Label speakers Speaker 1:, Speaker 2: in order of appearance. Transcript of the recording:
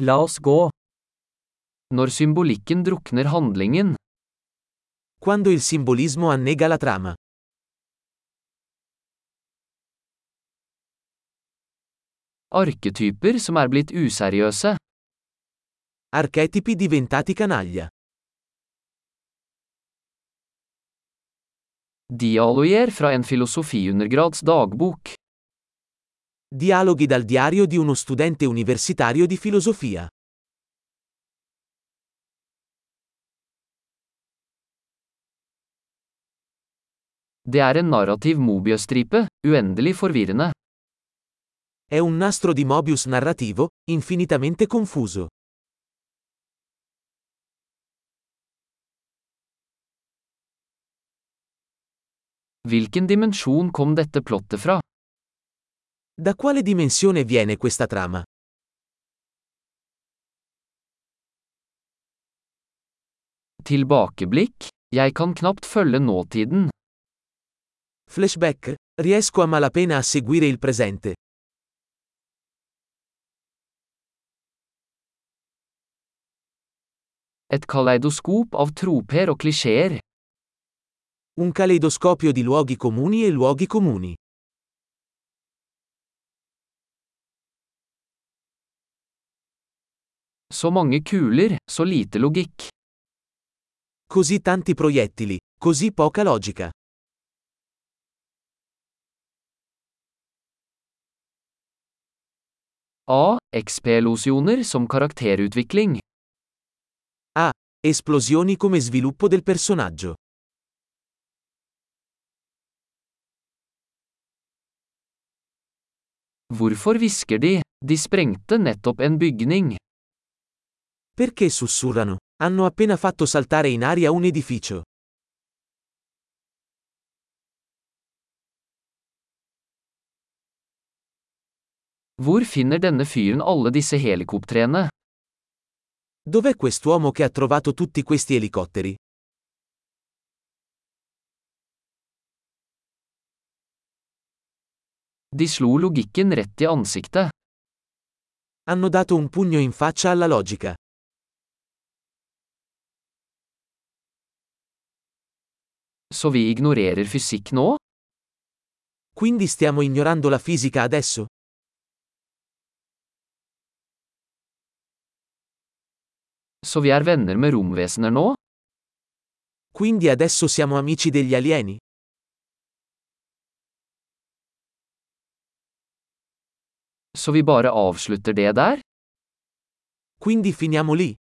Speaker 1: La oss gå. Når symbolikken drukner handlingen,
Speaker 2: Quando il simbolismo annega la trama.
Speaker 1: arketyper som er blitt useriøse,
Speaker 2: Archetipi diventati canaglia.
Speaker 1: dialoger fra en filosofiundergrads dagbok,
Speaker 2: Dialoghi dal diario di uno studente universitario di filosofia.
Speaker 1: det er en narrativ mobiøstripe, uendelig forvirrende.
Speaker 2: È un nastro di Mobius narrativo, infinitamente confuso.
Speaker 1: Hvilken dimensjon kom dette plottet fra?
Speaker 2: Da quale dimensione viene questa trama?
Speaker 1: Tilbakeblikk? Jeg kan knapt følge nåtiden.
Speaker 2: Flashback? Riesco a malapena a seguire il presente.
Speaker 1: Et kaleidoskop av troper og klisjeer.
Speaker 2: Un caleidoscopio di luoghi comuni e luoghi comuni.
Speaker 1: Så mange kuler, så lite logikk.
Speaker 2: Così tanti proiettili, così poca logica.
Speaker 1: A. XP-losjoner som karakterutvikling.
Speaker 2: Esplosioni come sviluppo del personaggio.
Speaker 1: Hvorfor hvisker de? De sprengte nettopp en bygning.
Speaker 2: Perché sussurrano? Hanno appena fatto saltare in aria un edificio.
Speaker 1: Hvor finner denne fyren alle disse helikoptrene?
Speaker 2: Dov'è quest'uomo che ha trovato tutti questi elicotteri?
Speaker 1: De slo logikken rett i ansiktet.
Speaker 2: Hanno dato un pugno in faccia alla logica.
Speaker 1: Så vi ignorerer fysikk nå?
Speaker 2: Quindi stiamo ignorando la fisica adesso?
Speaker 1: Så vi er venner med romvesener nå?
Speaker 2: Quindi adesso siamo amici degli alieni?
Speaker 1: Så vi bare avslutter det der?
Speaker 2: Quindi finiamo lì?